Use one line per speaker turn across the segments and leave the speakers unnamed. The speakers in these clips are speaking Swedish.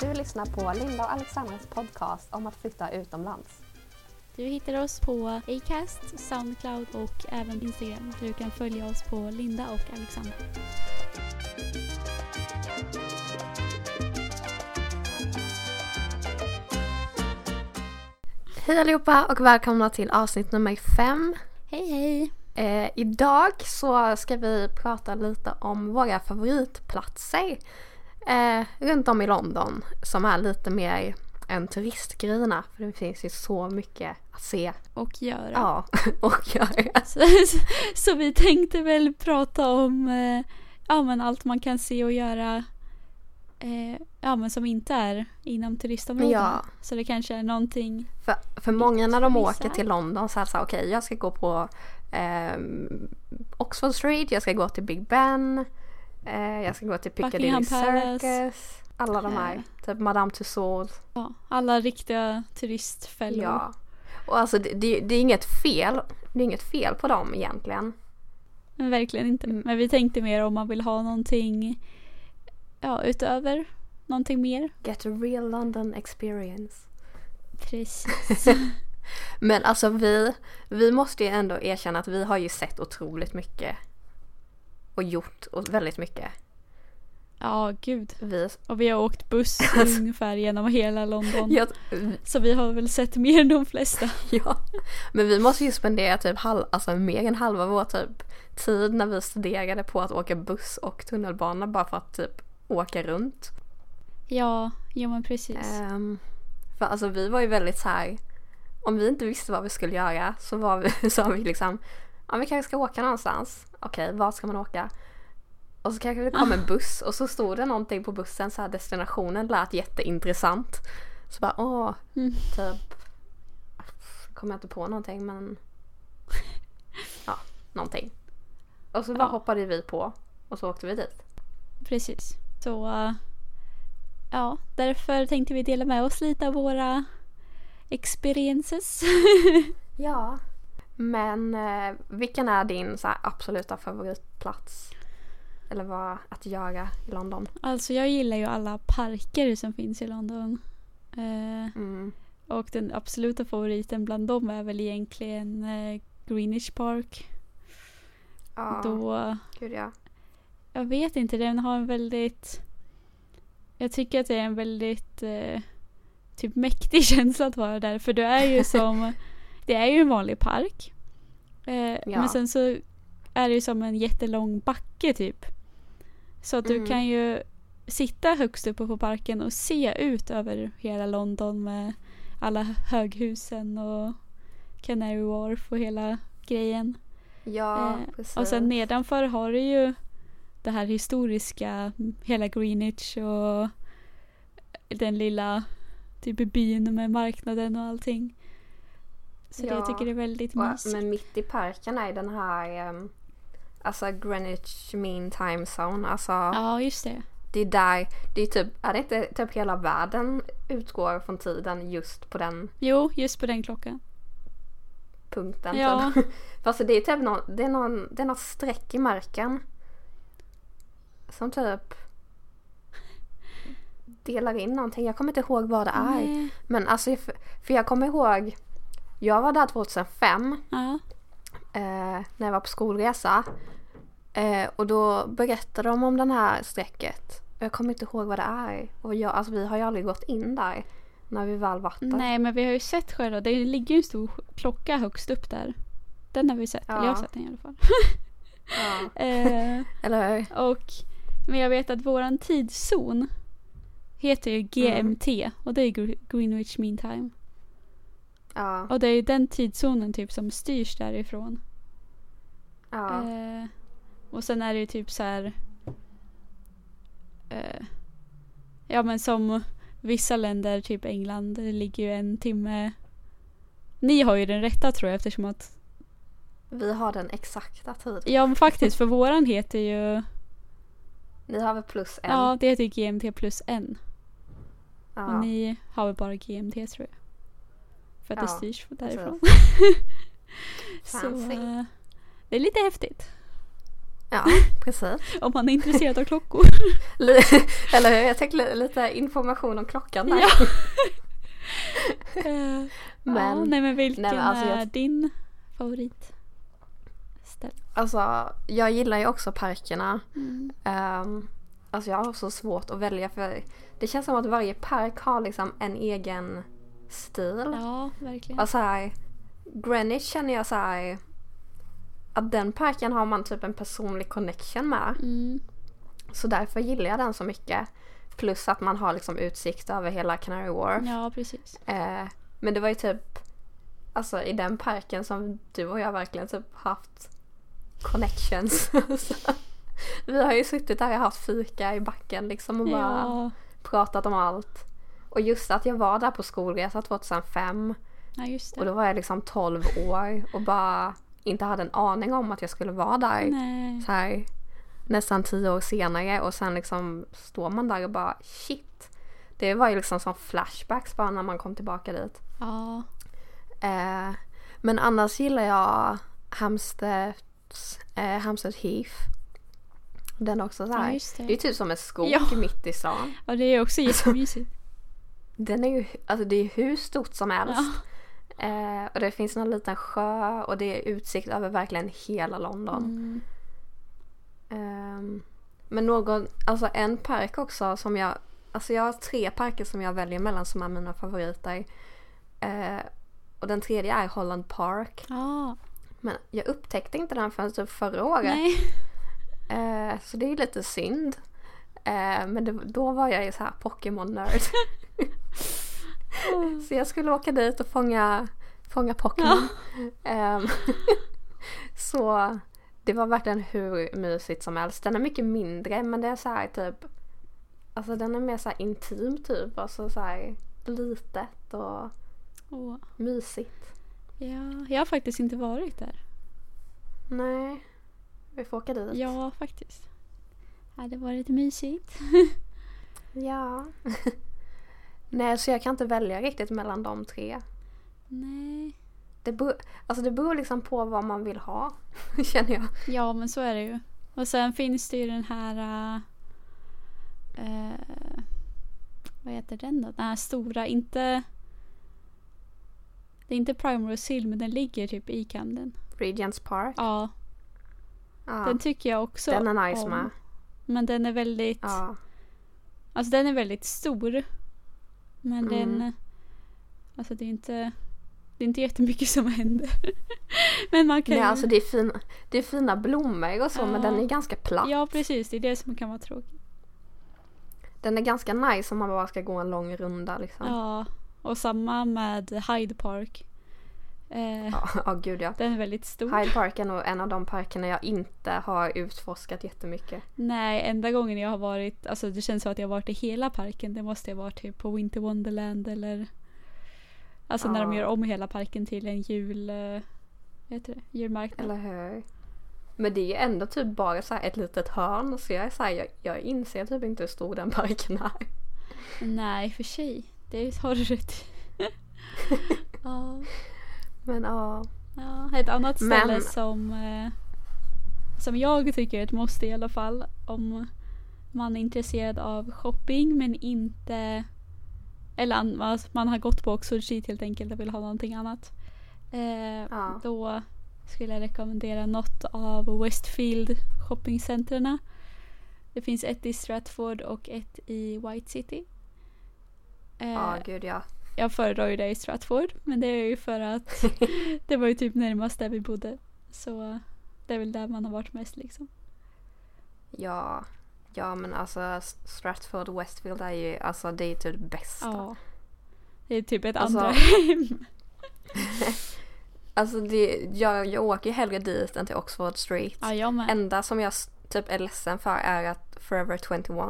Du lyssnar på Linda och Alexandras podcast om att flytta utomlands.
Du hittar oss på Acast, Soundcloud och även Instagram. Du kan följa oss på Linda och Alexandra.
Hej allihopa och välkomna till avsnitt nummer fem.
Hej hej!
Eh, idag så ska vi prata lite om våra favoritplatser eh, runt om i London som är lite mer en turistgrejerna för det finns ju så mycket att se.
Och göra.
Ja, och göra.
Så, så vi tänkte väl prata om eh, ja, men allt man kan se och göra eh, ja, men som inte är inom turistområdena.
Ja.
Så det kanske är någonting.
För, för många när de
Vissa.
åker till London så är det såhär, okej jag ska gå på eh, Oxford Street, jag ska gå till Big Ben, eh, jag ska gå till Piccadilly
Buckingham Palace.
Circus. Alla de här,
Eh.
typ Madame Tussauds.
Ja, alla riktiga turistfällor.
Ja. Och alltså det, det, det är inget fel, det är inget fel på dem egentligen.
Men verkligen inte.
Mm.
Men vi tänkte mer om man vill ha någonting ja, utöver. Någonting mer.
Get a real London experience.
Precis.
Men alltså vi, vi måste ju ändå erkänna att vi har ju sett otroligt mycket. Och gjort och väldigt mycket.
ja, gud.
Vi,
Och vi har åkt buss
Alltså.
ungefär genom hela London.
jag,
Så vi har väl sett mer än de flesta.
ja. Men vi måste ju spendera typ halv, alltså mer än halva vår typ tid när vi studerade på att åka buss och tunnelbana bara för att typ åka runt.
Ja, ja men precis.
Ehm, för alltså vi var ju väldigt så här. Om vi inte visste vad vi skulle göra så var vi, så vi liksom, ja vi kanske ska åka någonstans. Okej, var ska man åka? Och så kanske det kom
Ah.
en buss och så stod det någonting på bussen så här destinationen lät jätteintressant. Så bara åh,
Mm.
typ, kommer jag inte på någonting men, ja, någonting. Och så bara
Ja.
hoppade vi på och så åkte vi dit.
Precis. Så eh, ja, därför tänkte vi dela med oss lite av våra experiences.
Ja. Men eh, vilken är din så här, absoluta favoritplats? Eller vad att göra i London?
alltså jag gillar ju alla parker som finns i London. Eh,
Mm.
och den absoluta favoriten bland dem är väl egentligen eh, Greenwich Park.
Ja,
Då
gud ja.
Jag vet inte, den har en väldigt... Jag tycker att det är en väldigt eh, typ mäktig känsla att vara där för du är ju som... det är ju en vanlig park. Eh, Men sen så är det ju som en jättelång backe typ. Så att du
Mm.
kan ju sitta högst uppe på parken och se ut över hela London med alla höghusen och Canary Wharf och hela grejen.
Ja,
Eh,
precis.
Och sen nedanför har du ju det här historiska, hela Greenwich och eh, den lilla typ byn med marknaden och allting. Så det
Ja.
jag tycker det är väldigt
Och,
mysigt.
men mitt i parken är den här ehm, alltså Greenwich Mean Time Zone. Alltså
Ja, just det.
det är där, det är typ, är det inte typ hela världen utgår från tiden just på den
Jo, just på den klockan.
punkten.
Ja.
Typ. Fast det är typ någon, det är någon, det är något streck i marken. Som typ delar in någonting. Jag kommer inte ihåg vad det är.
Nej.
Men alltså, jag- för, för jag kommer ihåg. Jag var där 2005
Ja.
eh, när jag var på skolresa. Eh, och då berättade de om det här strecket. Och jag kommer inte ihåg vad det är. Och jag, alltså, vi har ju aldrig gått in där när vi väl varit där.
Nej, men vi har ju sett själva. Det ligger ju en stor klocka högst upp där. Den har vi sett. Eller jag har
Ja.
sett den i alla fall.
Ja.
Eh,
Eller hur?
Och, men jag vet att våran tidszon heter ju GMT och det är Gre- Greenwich Mean Time.
Ja.
Och det är ju den tidszonen typ som styrs därifrån.
ja.
Eh, och sen är det ju typ så här. Eh, ja men som vissa länder, typ England, det ligger ju en timme. Ni har ju den rätta tror jag eftersom att,
Vi har den exakta tiden.
ja men faktiskt för våran heter ju,
Ni har väl plus en?
ja det heter ju GMT plus en.
Ja,
Och ni har väl bara GMT tror jag. För att det
Ja,
styrs
precis.
därifrån. Så
Fancy.
eh, det är lite häftigt.
Ja, precis.
Om man är intresserad av klockor.
Li- Eller hur? Jag tänkte li- lite information om klockan där.
Ja. Eh,
Men-
ja, nej men vilken
nej, men alltså jag-
är din favorit? Ställ.
Alltså, jag gillar ju också parkerna.
Mm.
Um, alltså jag har så svårt att välja för det känns som att varje park har liksom en egen stil.
Ja, verkligen.
Och så här, Greenwich känner jag så här att den parken har man typ en personlig connection med.
Mm.
Så därför gillar jag den så mycket. Plus att man har liksom utsikt över hela Canary Wharf.
Ja, precis.
Eh, men det var ju typ alltså i den parken som du och jag verkligen typ haft connections. Så, vi har ju suttit där och haft fika i backen liksom och bara
Ja,
pratat om allt. Och just att jag var där på skolresa 2005
ja, just
och
det.
då var jag liksom 12 år och bara inte hade en aning om att jag skulle vara där
Nej.
så här, nästan tio år senare och sen liksom står man där och bara shit. Det var ju liksom som flashbacks bara när man kom tillbaka dit.
Ja.
Eh, men annars gillar jag Hampsteads, eh, Hampstead Heath. Den är också så
ja,
här.
just
det är
det.
typ som en skog
Ja.
mitt i stan.
Ja, det är också
Alltså-
jättemysigt.
Den är ju, alltså det är hur stort som helst.
Ja.
Eh, och det finns någon liten sjö och det är utsikt över verkligen hela London.
Mm.
Ehm, men någon, alltså en park också som jag, alltså jag har tre parker som jag väljer mellan som är mina favoriter. Eh, och den tredje är Holland Park.
Ja.
Men jag upptäckte inte den förrän typ förra året.
Nej.
Eh, så det är ju lite synd. Eh, men det, då var jag ju så här Pokémon-nörd. så jag skulle åka dit och fånga, fånga Pokémon. Ehm, så det var verkligen hur mysigt som helst. Den är mycket mindre men det är så här typ Alltså den är mer så här intim typ. Alltså så här litet och
Åh.
mysigt.
Ja, jag har faktiskt inte varit där.
Nej. Vi får åka dit.
Ja, faktiskt. Ja, det var lite mysigt.
Ja. Nej, så jag kan inte välja riktigt mellan de tre.
Nej.
Det beror, alltså det beror liksom på vad man vill ha, känner jag.
Ja, men så är det ju. Och sen finns det ju den här... eh, eh, vad heter den då? Den här stora, inte... Det är inte Primrose Hill, men den ligger typ i Camden.
Regents Park.
Ja,
Ja,
den tycker jag också
den är nice
om.
med.
Men den är väldigt...
Ja.
Alltså den är väldigt stor. Men
Mm.
den... Alltså det är inte... Det är inte jättemycket som händer. men man kan
Nej,
ju...
alltså det är, fina, det är fina blommor och så, men
Ja.
den är ganska platt.
Ja, precis. Det är det som kan vara tråkigt.
Den är ganska nice om man bara ska gå en lång runda liksom. Ja,
Ja. Och samma med Hyde Park. Eh,
ja gud ja.
Den är väldigt stor.
Hyde Park är nog en av de parkerna jag inte har utforskat jättemycket.
Nej, enda gången jag har varit, alltså det känns som att jag har varit i hela parken. Det måste jag ha varit typ på Winter Wonderland eller Alltså när de
Ja.
gör om hela parken till en jul... eh, Vad heter det? Julmarknad.
Eller hur? Men det är ju ändå typ bara så här ett litet hörn så jag är så här, jag, jag inser typ inte hur stor den parken är.
Nej, för sig. Det har du rätt i. ja,
Men ja.
ja. Ett annat ställe
Men-
som eh, som jag tycker är ett måste i alla fall om man är intresserad av shopping men inte eller an- alltså, man har gått på Oxford Street helt enkelt och vill ha någonting annat. Eh,
Ja.
Då skulle jag rekommendera något av Westfield shoppingcentrerna. Det finns ett i Stratford och ett i White City. Eh,
Ja, gud ja.
jag föredrar ju det i Stratford men det är ju för att det var ju typ närmast där vi bodde. Så det är väl där man har varit mest liksom.
Ja. Ja men alltså Stratford Westfield är ju alltså det är ju typ det bästa.
Ja. Det är typ ett
Alltså-
andra hem.
Alltså det, jag, jag åker ju hellre dit än till Oxford Street.
Ja, jag med.
Enda som jag s- typ är ledsen för är att Forever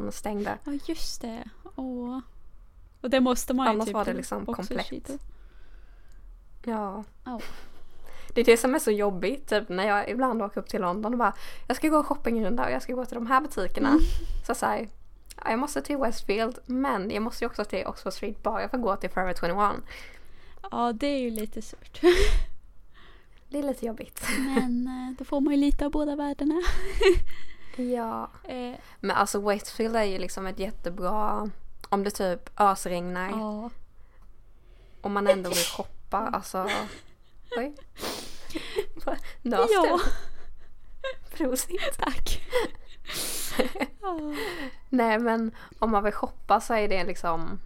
21 stängde.
Ja, just det. Åh. Och det måste man ju
Annars
typ
var det
till
liksom
Boxer
komplett.
Street.
Ja.
Ja.
Det är det som är så jobbigt, typ när jag ibland åker upp till London och bara jag ska gå shoppingrunda och jag ska gå till de här butikerna.
Mm.
Så såhär, ja, jag måste till Westfield men jag måste ju också till Oxford Street bara för att gå till Forever 21.
Ja, det är ju lite surt.
Det är lite jobbigt.
Men eh, då får man ju lite av båda världarna.
Ja.
Eh,
Men alltså Westfield är ju liksom ett jättebra... Om det typ ösregnar
ja.
och man ändå vill shoppa. Alltså... Oj. Nös
ja,
du? Prosit.
tack. ja.
Nej men om man vill shoppa så är det liksom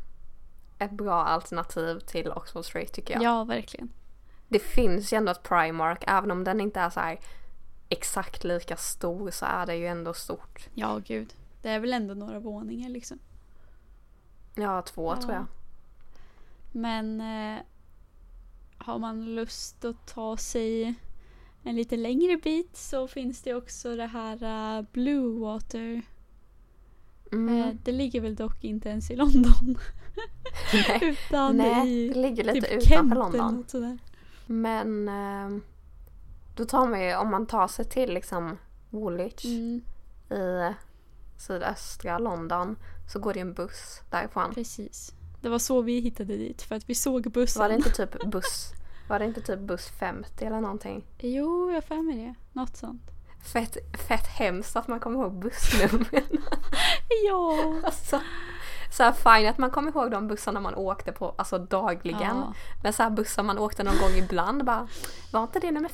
ett bra alternativ till Oxford Street tycker jag.
ja, verkligen.
Det finns ju ändå ett Primark även om den inte är så här exakt lika stor så är det ju ändå stort.
Ja, gud. Det är väl ändå några våningar liksom.
Ja, två
Ja. Eh,
tror jag.
Men eh, har man lust att ta sig en lite längre bit så finns det också det här eh, Blue Water. Eh,
Mm.
det ligger väl dock inte ens i London
Nej,
utan
nej,
i
det ligger lite
typ Kent
utanför
eller
London.
något sådär.
Men ehm, då tar man ju, om man tar sig till liksom Woolwich
Mm,
i sydöstra London så går det ju en buss därifrån.
precis. Det var så vi hittade dit för att vi såg bussen.
Var det inte typ buss, var det inte typ buss 50 eller någonting?
Jo, jag har för mig det. Något sånt.
Fett, fett hemskt att man kommer ihåg bussnumren.
Ja.
alltså, så här fine att man kommer ihåg de bussarna man åkte på alltså dagligen.
Ja.
Men så här bussar man åkte någon gång ibland bara, var inte det nummer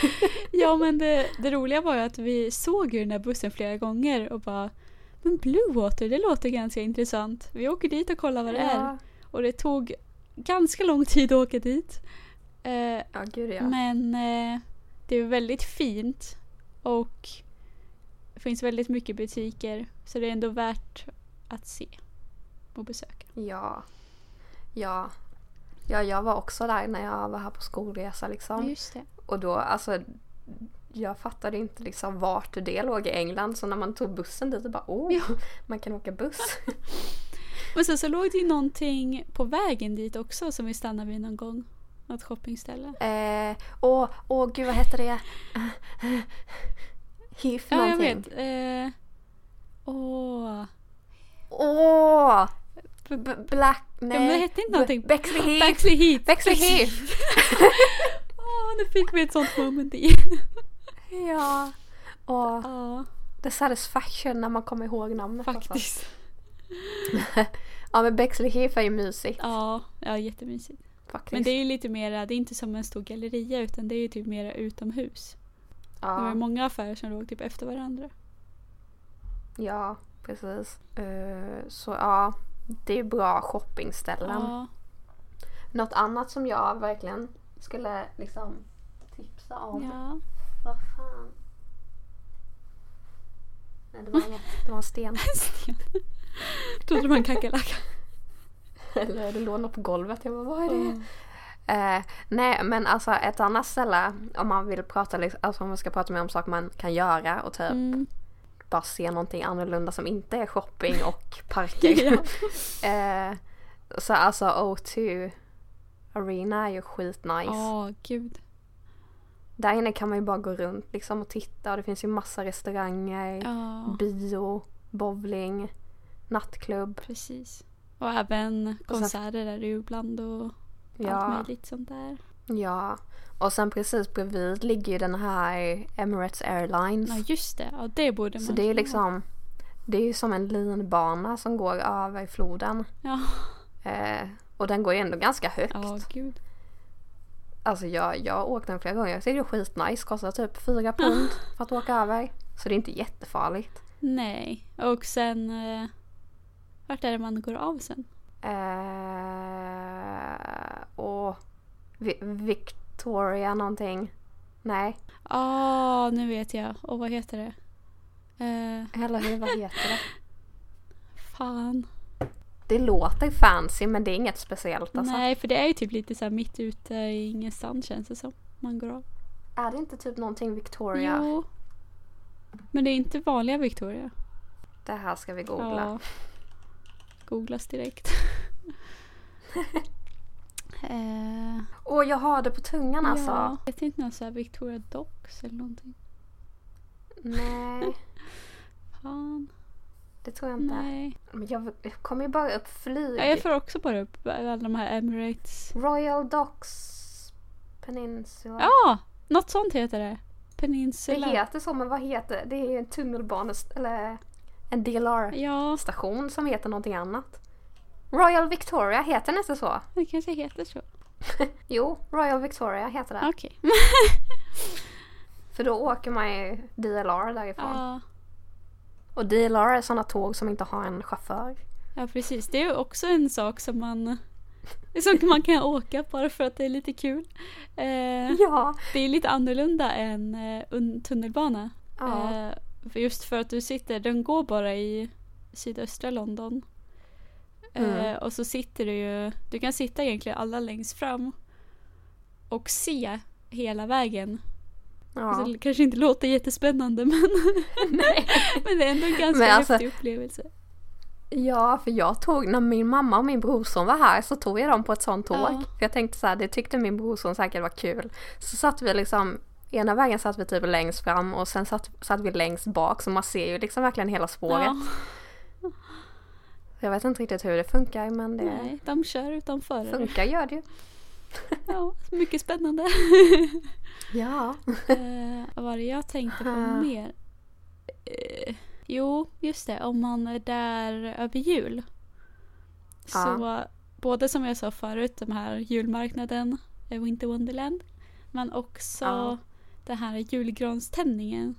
50?
Ja men det, det roliga var ju att vi såg ju den där bussen flera gånger och bara Men Bluewater det låter ganska intressant. Vi åker dit och kollar vad det är.
ja.
Och det tog ganska lång tid att åka dit. Eh,
ja, gud ja.
Men eh, det är väldigt fint och det finns väldigt mycket butiker så det är ändå värt att se och besöka.
Ja. Ja. Ja, jag var också där när jag var här på skolresa liksom.
Just det.
Och då, alltså. Jag fattade inte liksom vart det låg i England så när man tog bussen dit och bara åh,
Ja.
man kan åka buss.
Och sen så låg det ju någonting på vägen dit också som vi stannade vid någon gång. Något shoppingställe.
eh, åh, åh gud vad hette det? Hiff
Ja, jag
någonting.
vet. Eh, Åh.
Åh! B- b- black, nej.
men det hette inte
B-
någonting.
Bexley Hiff.
Bexley Heath.
Bexley Hiff.
Åh, nu fick vi ett sånt moment igen.
Ja. Åh,
Ja,
the satisfaction när man kommer ihåg namnet. alltså.
faktiskt.
Ja men Bexley Heath är ju mysigt
Ja, ja, jättemysigt.
faktiskt.
Men det är ju lite mera, det är inte som en stor galleria utan det är ju typ mera utomhus. Det var ju
ja,
många affärer som låg typ efter varandra.
ja, precis. Eh, så ja, det är bra shoppingställen.
Ja,
Något annat som jag verkligen skulle liksom tipsa om.
ja.
Vad fan. Nej, det var inget. Det var en sten.
Trodde man kackerlacka.
Eller det låg något på golvet. Jag bara, vad är det? Eh, nej men alltså ett annat ställe om man vill prata liksom, alltså om man ska prata mer om saker man kan göra och typ
Mm.
bara se någonting annorlunda som inte är shopping och parker.
Ja.
Eh, så alltså O2 Arena är ju skitnice.
Ja, gud.
Där inne kan man ju bara gå runt liksom och titta och det finns ju massa restauranger,
Ja,
bio, bowling, nattklubb.
precis. Och även konserter där det ju ibland och allt
Ja,
möjligt sånt där.
ja. Och sen precis bredvid ligger ju den här Emirates Airlines.
Ja just det, ja, det borde man
Mm. Så det är ju
kunna.
liksom det är ju som en linbana som går över floden.
Ja,
Eh, och den går ju ändå ganska högt.
ja gud.
Alltså jag, jag har åkt den flera gånger. Jag tycker det är skitnice. Kostar typ fyra pund för att åka över. Så det är inte jättefarligt.
Nej, och sen... Eh, vart är det man går av sen?
Eh, och Vi- Victoria någonting. Nej,
Ja, nu vet jag. Och vad heter det? Eh,
eller hur, vad heter det?
fan.
Det låter fancy men det är inget speciellt alltså.
Nej, för det är ju typ lite så här mitt ute i ingenstans känns det som. Man går av.
Är det inte typ någonting Victoria?
Jo. Men det är inte vanliga Victoria.
Det här ska vi googla.
Ja. Googlas direkt. eh,
Åh, jag har det på tungan alltså.
Ja, jag tänkte någon så här Victoria Docks eller någonting.
Nej,
Fan.
det tror jag inte.
Nej.
Men jag jag kommer ju bara upp flyg.
Ja, jag får också bara upp alla de här Emirates.
Royal Docks Peninsula.
Ja, något sånt heter det.
det
Peninsula.
heter så, men vad heter det? Det är ju en tunnelbane eller en DLR-station
Ja,
som heter någonting annat. Royal Victoria, heter den inte så?
det kanske heter så.
Jo, Royal Victoria heter det.
Okej.
För då åker man ju DLR därifrån.
Ja.
Och DLR är sådana tåg som inte har en chaufför.
ja, precis. Det är ju också en sak som man som man kan åka bara för att det är lite kul. Eh,
Ja.
det är lite annorlunda än eh, un- tunnelbana.
ja.
Eh, för just för att du sitter, den går bara i sydöstra London. Eh,
Mm.
och så sitter du ju, du kan sitta egentligen alla längst fram och se hela vägen.
ja.
Alltså, det kanske inte låter jättespännande men, men det är ändå en ganska
Men alltså-
häftig upplevelse.
Ja, för jag tog, när min mamma och min brorson var här så tog jag dem på ett sånt tåg.
Ja.
För jag tänkte så här, det tyckte min brorson säkert var kul. Så satt vi liksom, ena vägen satt vi typ längst fram och sen satt, satt vi längst bak så man ser ju liksom verkligen hela spåret.
Ja,
Jag vet inte riktigt hur det funkar men det
nej, de kör utan förare.
funkar gör det ju.
Ja, mycket spännande.
Ja.
Eh, vad var det jag tänkte på
Ah.
mer? Eh, jo, just det. Om man är där över jul. Så både som jag sa förut, den här julmarknaden, eh, Winter Wonderland. Men också
Ja.
den här julgranständningen.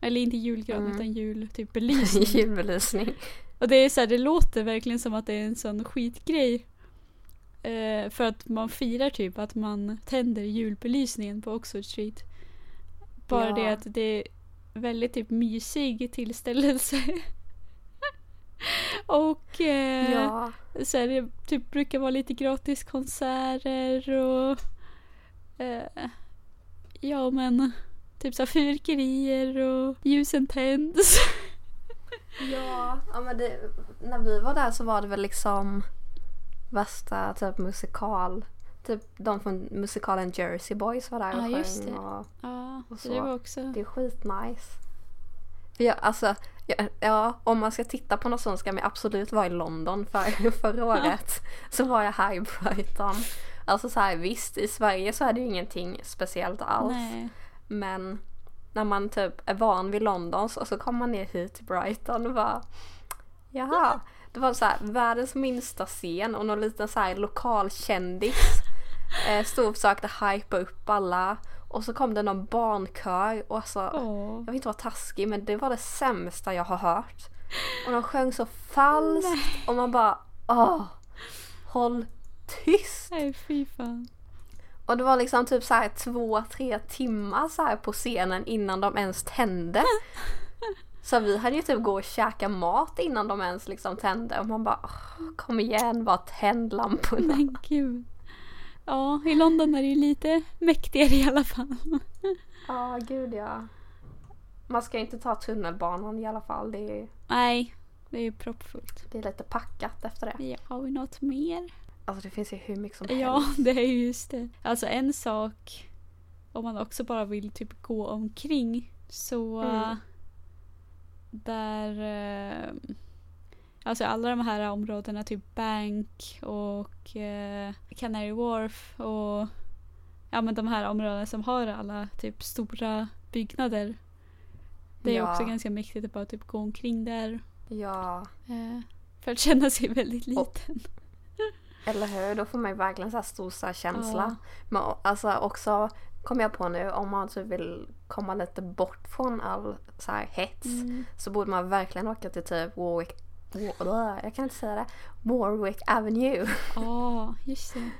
Eller inte julgran
Mm.
utan jul, typ belysning.
Julbelysning.
Och det är så här, det låter verkligen som att det är en sån skitgrej. Eh, för att man firar typ att man tänder julbelysningen på Oxford Street. Bara
Ja.
det att det är väldigt typ mysig tillställelse. Och eh,
Ja.
så här, det typ brukar vara lite gratiskonserter och eh, ja men typ så här fyrverkerier och ljusen tänds.
Ja. ja men det, när vi var där så var det väl liksom värsta typ musikal. Typ de från musikalen Jersey Boys var där och
Ja, just
sjöng
det.
och
Ja,
Och
så
så.
det var också
Det är skitnice. För jag, alltså, jag, ja, om man ska titta på något sånt ska man absolut vara i London för, förra året. Så var jag här i Brighton. Alltså så här, visst, i Sverige så är det ju ingenting speciellt alls.
Nej.
Men när man typ är van vid London så, så kommer man ner hit till Brighton och bara Jaha. Det var så här, världens minsta scen och någon liten så här lokal kändis eh, stod och försökte hypa upp alla. Och så kom det någon barnkör och alltså
Åh.
jag vill inte vara taskig men det var det sämsta jag har hört. Och de sjöng så falskt och man bara åh, håll tyst!
Nej, fy fan.
Och det var liksom typ så här två, tre timmar så här på scenen innan de ens tände. Så vi hade ju typ gå och käka mat innan de ens liksom tände och man bara åh, kom igen bara tänd lamporna.
Men gud. Ja, i London är det ju lite mäktigare i alla fall.
Ja, gud ja. Man ska ju inte ta tunnelbanan i alla fall. Det är,
Nej, det är ju proppfullt.
det är lite packat efter det.
Ja, har vi något mer?
Alltså det finns ju hur mycket som
Ja, det är ju just det. Alltså en sak, om man också bara vill typ gå omkring, så
Mm.
äh, där, äh, alltså alla de här områdena, typ Bank och äh, Canary Wharf och ja men de här områdena som har alla typ stora byggnader. Det är
Ja.
också ganska mäktigt att bara typ gå omkring där
Ja,
äh, för att känna sig väldigt liten.
eller hur? Då får man ju verkligen så här storstadskänsla.
Ja.
Men o- alltså också kom jag på nu om man typ vill komma lite bort från all så här hets
Mm.
så borde man verkligen åka till typ Warwick Wa- Blah, jag kan inte säga det. Warwick Avenue.
Ja, just det.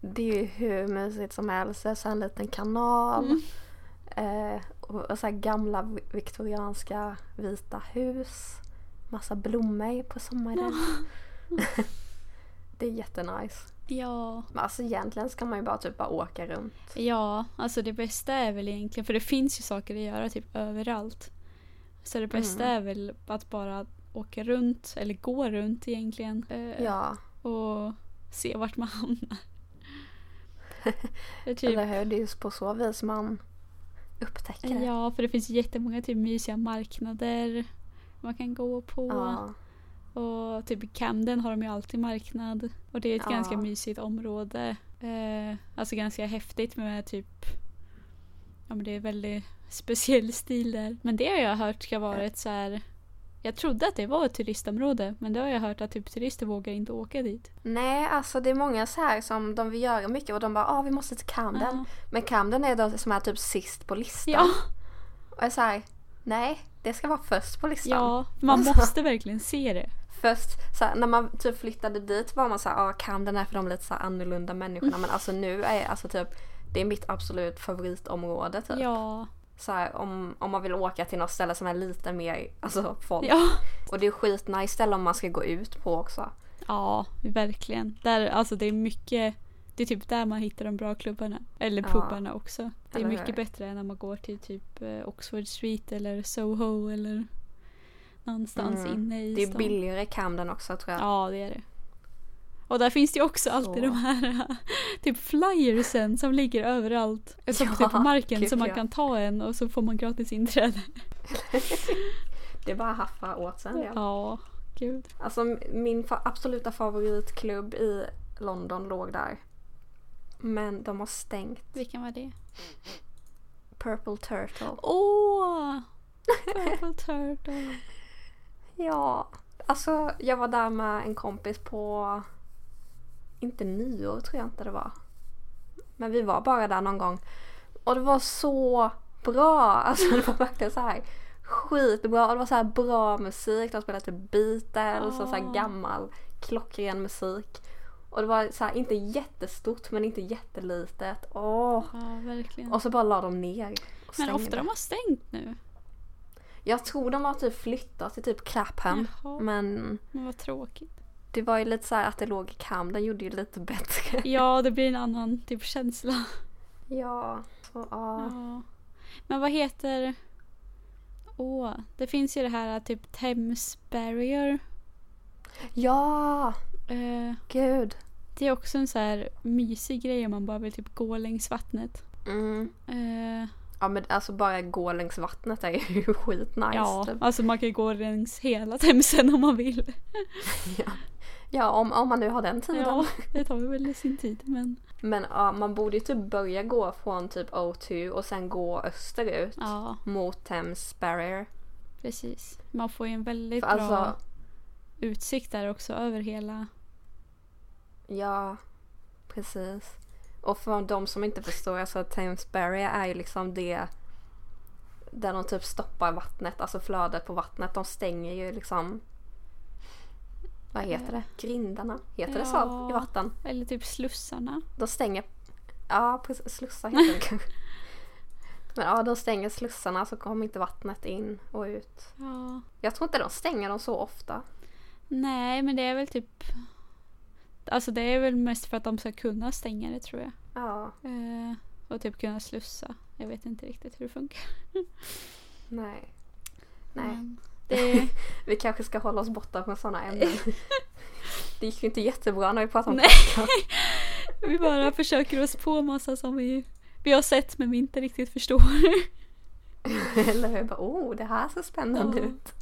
Det är ju hur mysigt som helst. Det är så här en liten kanal.
Mm.
Eh, och och så här gamla vi- viktorianska vita hus. Massa blommor på sommaren. det är jättenice.
Ja.
Men alltså egentligen ska man ju bara typ bara åka runt.
Ja, alltså det bästa är väl egentligen, för det finns ju saker att göra typ överallt. Så det bästa
Mm.
är väl att bara åka runt, eller gå runt egentligen. eh,
Ja,
Och se vart man hamnar. Det är typ,
eller hur? Det är just på så vis man upptäcker det.
ja, för det finns ju jättemånga typ mysiga marknader man kan gå på.
Ja.
Och typ i Camden har de ju alltid marknad. Och det är ett
Ja.
ganska mysigt område. Eh, alltså ganska häftigt med typ... Ja men det är väldigt speciell stil där. Men det har jag hört ska vara ett så här... Jag trodde att det var ett turistområde men det har jag hört att typ turister vågar inte åka dit.
Nej, alltså det är många så här som de vill göra mycket och de bara ah, vi måste till Camden.
Ja.
Men Camden är de som är typ sist på listan.
Ja,
Och jag är så här, nej, det ska vara först på listan.
ja, man
Alltså.
måste verkligen se det.
Först så här, när man typ flyttade dit var man så här, ah, Camden är för de lite så här annorlunda
Mm.
människorna. Men alltså nu är alltså typ det är mitt absolut favoritområde typ.
Ja,
Så här, om, om man vill åka till något ställe som är lite mer alltså, folk.
ja.
Och det är skitnice ställe om man ska gå ut på också.
Ja, verkligen. Där, alltså det är mycket, det är typ där man hittar de bra klubbarna. Eller
Ja.
pubarna också. Det är
Eller hur?
mycket bättre än när man går till typ eh, Oxford Street eller Soho eller någonstans
Mm.
inne i
Det är
stan.
billigare i Camden också tror jag.
Ja, det är det. Och där finns det ju också alltid de här typ flyersen som ligger överallt. Som
Ja,
typ på marken
gud,
som man
ja.
kan ta en och så får man gratis inträde.
Det är bara att haffa åt sen. Ja.
Ja, gud.
Alltså min fa- absoluta favoritklubb i London låg där. Men de har stängt
Vilken var det?
Purple Turtle.
Åh! Purple Turtle.
Ja, alltså jag var där med en kompis på, inte nyår tror jag inte det var. Men vi var bara där någon gång. Och det var så bra, alltså det var verkligen så här skitbra. Och det var så här bra musik, de spelade typ Beatles och så här
Ah.
gammal klockren musik. Och det var så här, inte jättestort men inte jättelitet. Åh!
Ja, verkligen.
Och så bara la de ner. och
Mm. Men
stängde.
ofta de har stängt nu.
Jag tror de har typ flyttat till typ Clapham.
Jaha, men,
Men
vad tråkigt.
Det var ju lite så här att det låg i kam, den gjorde ju lite bättre.
Ja, det blir en annan typ känsla.
Ja, så ja.
Ja. Men vad heter... Åh, det finns ju det här typ Thames Barrier.
Ja,
Eh,
gud.
det är också en så här mysig grej om man bara vill typ gå längs vattnet.
Mm.
Eh,
Ja men alltså bara gå längs vattnet är ju skitnice.
ja,
typ.
alltså man kan ju gå längs hela Themsen om man vill.
ja om, om man nu har den tiden.
Ja, det tar väl sin tid men
Men ja, man borde ju typ börja gå från typ O2 och sen gå österut
ja,
mot Thames Barrier.
precis. Man får ju en väldigt
För
bra
alltså,
utsikt där också över hela
ja precis. Och för de som inte förstår, alltså Thames Barrier är ju liksom det där de typ stoppar vattnet, alltså flödet på vattnet. De stänger ju liksom... Vad heter det? Grindarna? Heter det så
Ja.
i vatten?
Eller typ slussarna.
De stänger... Ja, precis. Slussar heter det kanske. Men ja, de stänger slussarna så kommer inte vattnet in och ut.
Ja.
Jag tror inte de stänger dem så ofta.
Nej, men det är väl typ... Alltså det är väl mest för att de ska kunna stänga det tror jag.
Ja,
Eh, och typ kunna slussa. Jag vet inte riktigt hur det funkar.
nej. Nej.
Men Det,
Vi kanske ska hålla oss borta från sådana ämnen. Det gick ju inte jättebra när vi pratade om
Nej.
podcast.
vi bara försöker oss på massa som vi, vi har sett men vi inte riktigt förstår.
Eller hur? Bara, oh, det här ser spännande
Ja.
ut.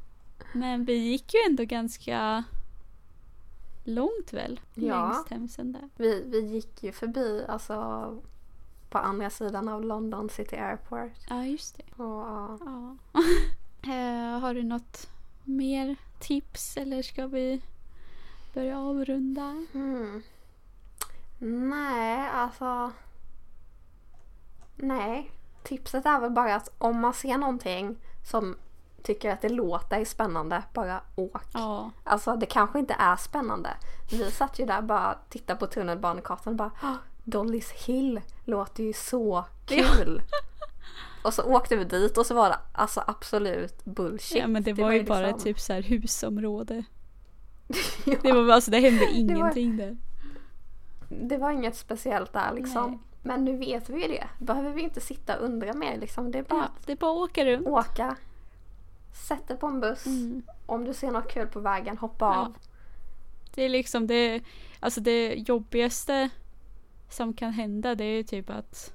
Men vi gick ju ändå ganska långt väl?
Ja.
Längs Themsen där.
Vi, vi gick ju förbi, alltså på andra sidan av London City Airport.
Ja, just
Och,
det.
ja.
Ja. Eh, har du något mer tips eller ska vi börja avrunda?
hmm. Nej, alltså. Nej. Tipset är väl bara att om man ser någonting som tycker att det låter spännande, bara åk.
Ja,
Alltså det kanske inte är spännande. Vi satt ju där bara tittade på tunnelbanekartan och bara "Åh, Dollys Hill låter ju så kul. och så åkte vi dit och så var det alltså absolut bullshit.
ja men det, var ju bara
liksom-
typ så här husområde.
Ja,
Det, var, alltså, det hände
var-
ingenting där.
det var inget speciellt där liksom.
Nej.
Men nu vet vi ju det. behöver vi inte sitta och undra mer liksom. Det är bara
Ja, det är bara att åka runt.
att åka. Sätt dig på en buss.
Mm.
Om du ser något kul på vägen, hoppa
Ja.
av.
Det är liksom det, alltså det jobbigaste som kan hända det är ju typ att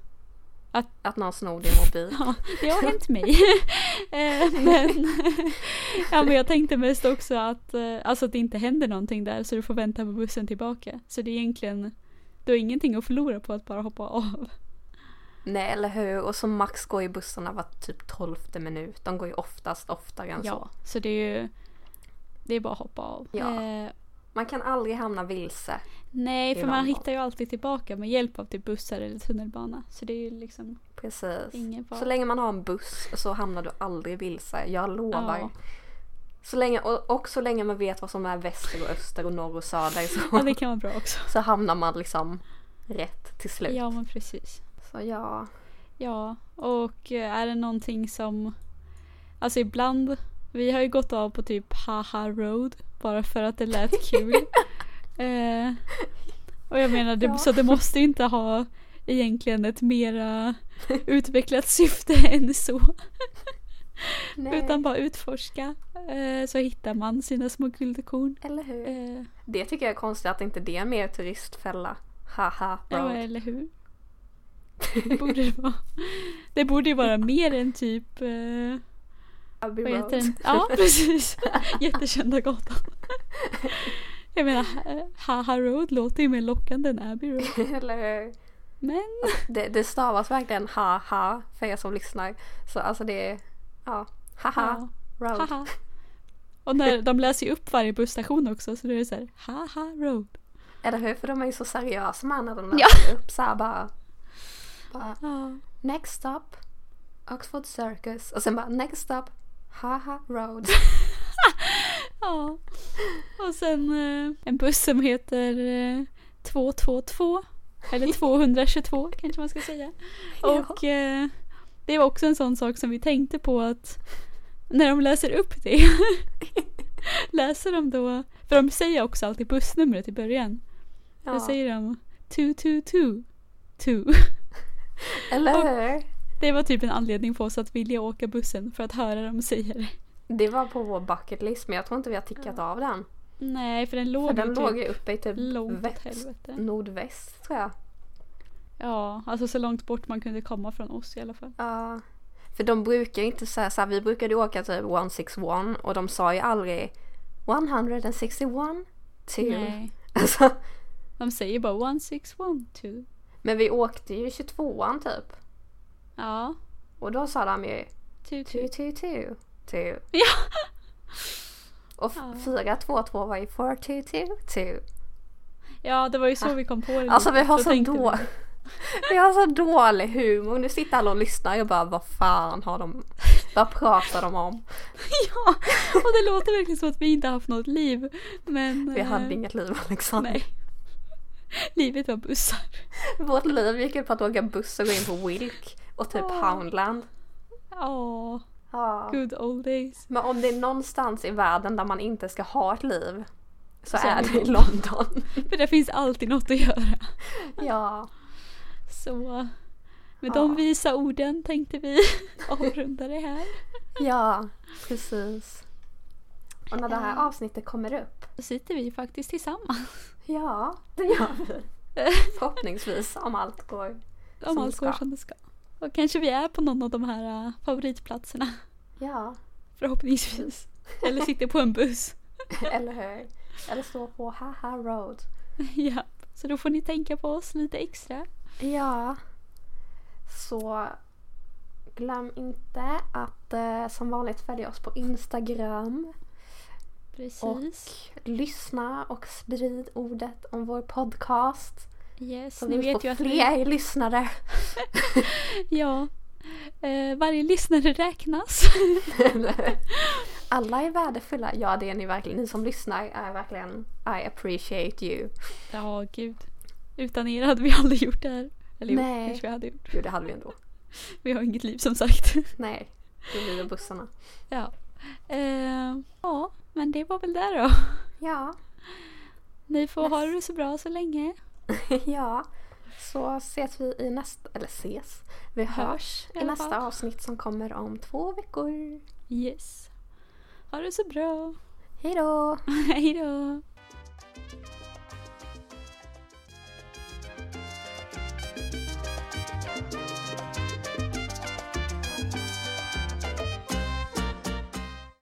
Att någon snor din mobil.
Ja, det har hänt mig. Eh, men, ja, men jag tänkte mest också att, eh, alltså att det inte händer någonting där så du får vänta på bussen tillbaka. Så det är egentligen Du har ingenting att förlora på att bara hoppa av.
Nej, eller hur? Och så max går ju bussarna var typ tolfte minut. De går ju oftast oftare än så.
Ja, så det är ju... Det är bara att hoppa av.
Ja.
Eh,
Man kan aldrig hamna vilse.
nej,
Det är
för man
vanligt.
hittar ju alltid tillbaka med hjälp av typ bussar eller tunnelbana. Så det är ju liksom
Precis.
ingen
Så
fara.
länge man har en buss så hamnar du aldrig vilse. Jag lovar.
Ja.
Så länge, och, och så länge man vet vad som är väster och öster och norr och söder
Ja,
så,
det kan vara bra också.
så hamnar man liksom rätt till slut.
Ja, men precis.
Så ja.
Ja, och eh, är det någonting som... Alltså ibland, vi har ju gått av på typ haha road bara för att det lät kul. eh, och jag menar, det,
Ja.
så det måste ju inte ha egentligen ett mera utvecklat syfte än så.
Nej,
Utan bara utforska eh, så hittar man sina små guldkorn.
Eller hur?
Eh,
Det tycker jag är konstigt att inte det är mer turistfälla. Haha,
ja,
road.
eller hur? Det borde det vara. Det borde ju vara mer än typ eh,
Abbey
Vad heter
road.
den? Ja, precis. Jättekända gatan. Jag menar, Haha Road låter ju mer lockande än Abbey Road.
eller hur?
Men
Det, det stavas verkligen haha för er som lyssnar. Så alltså det är, ja, haha,
ja,
road.
haha. Och när de läser ju upp varje busstation också så det är så här Haha Road.
Eller hur? För de är ju så seriösa med när de
Ja.
läser upp så här bara, bara
Ja,
Next stop Oxford Circus och sen bara next stop Haha Road.
ja. Och sen eh, en buss som heter eh, 222 eller 222 kanske man ska säga. Och eh, det var också en sån sak som vi tänkte på att när de läser upp det läser de då, för de säger också alltid bussnumret i början.
ja.
Då säger de 222. two.
Eller
och-
hur?
Det var typ en anledning för oss att vilja åka bussen för att höra dem säga det.
Det var på vår bucket list men jag tror inte vi har tickat av den.
Nej, för den
För
låg
den
ju
låg
typ
ju uppe i typ
långt åt
väst,
helvete.
nordväst tror jag.
Ja, alltså så långt bort man kunde komma från oss i alla fall.
Ja. För de brukar inte säga så här, vi brukade åka typ 161 och de sa ju aldrig 161 2.
Nej.
Alltså,
De säger bara 1612.
men vi åkte ju 22an typ
Ja,
och då sa de ju
22.
Tu, tu, tu, tu.
Ja.
Och
Ja.
422 var ju 4, tu, tu, tu.
Ja, det var ju så vi kom på det.
Alltså vi har
Mm, Då
så
tänkte vi-
då... Vi har så dålig humor. Nu sitter alla och lyssnar och bara vad fan har de... Vad pratar de om?
Ja, och det låter verkligen som att vi inte haft något liv. Men...
Vi
eh,
hade inget liv Alexander.
Nej. Livet var bussar.
Vårt liv gick ut på att åka buss och gå in på Wilk och typ
Ja.
Poundland.
Ja,
Ja.
good old days.
Men om det är någonstans i världen där man inte ska ha ett liv så,
Så
är
är
det
det
i London.
För det finns alltid något att göra.
ja.
Så med
Ja.
de visa orden tänkte vi avrunda det här.
Ja, precis. Och när det här
Ja.
avsnittet kommer upp.
Då sitter vi faktiskt tillsammans.
Ja, det gör vi. Förhoppningsvis om allt går.
Om
Som
allt
ska.
går som det ska. Och kanske vi är på någon av de här eh, favoritplatserna.
Ja,
Förhoppningsvis. Eller sitter på en buss.
eller hur? Eller står på Haha Road.
Ja, så då får ni tänka på oss lite extra.
Ja. Så glöm inte att eh, som vanligt följa oss på Instagram.
Precis.
Lyssna och sprid ordet om vår podcast.
Yes,
Så
ni
vi
vet ju
får
att vi,
fler lyssnare.
ja, eh, varje lyssnare räknas.
Alla är värdefulla. Ja, det är ni verkligen. Ni som lyssnar är verkligen I appreciate you.
Ja, gud. Utan er hade vi aldrig gjort det här. Eller
Nej.
jo, kanske vi hade gjort.
Jo, det hade vi ändå.
Vi har inget liv som sagt.
Nej, det är vi och bussarna.
ja. Eh, ja, men det var väl det då.
Ja,
Ni får ha det så bra så länge.
ja. Så ses vi i nästa, eller ses, vi hörs
i
i
alla
nästa
fall.
avsnitt som kommer om två veckor.
Yes. Ha det så bra.
Hej då!
Hej då.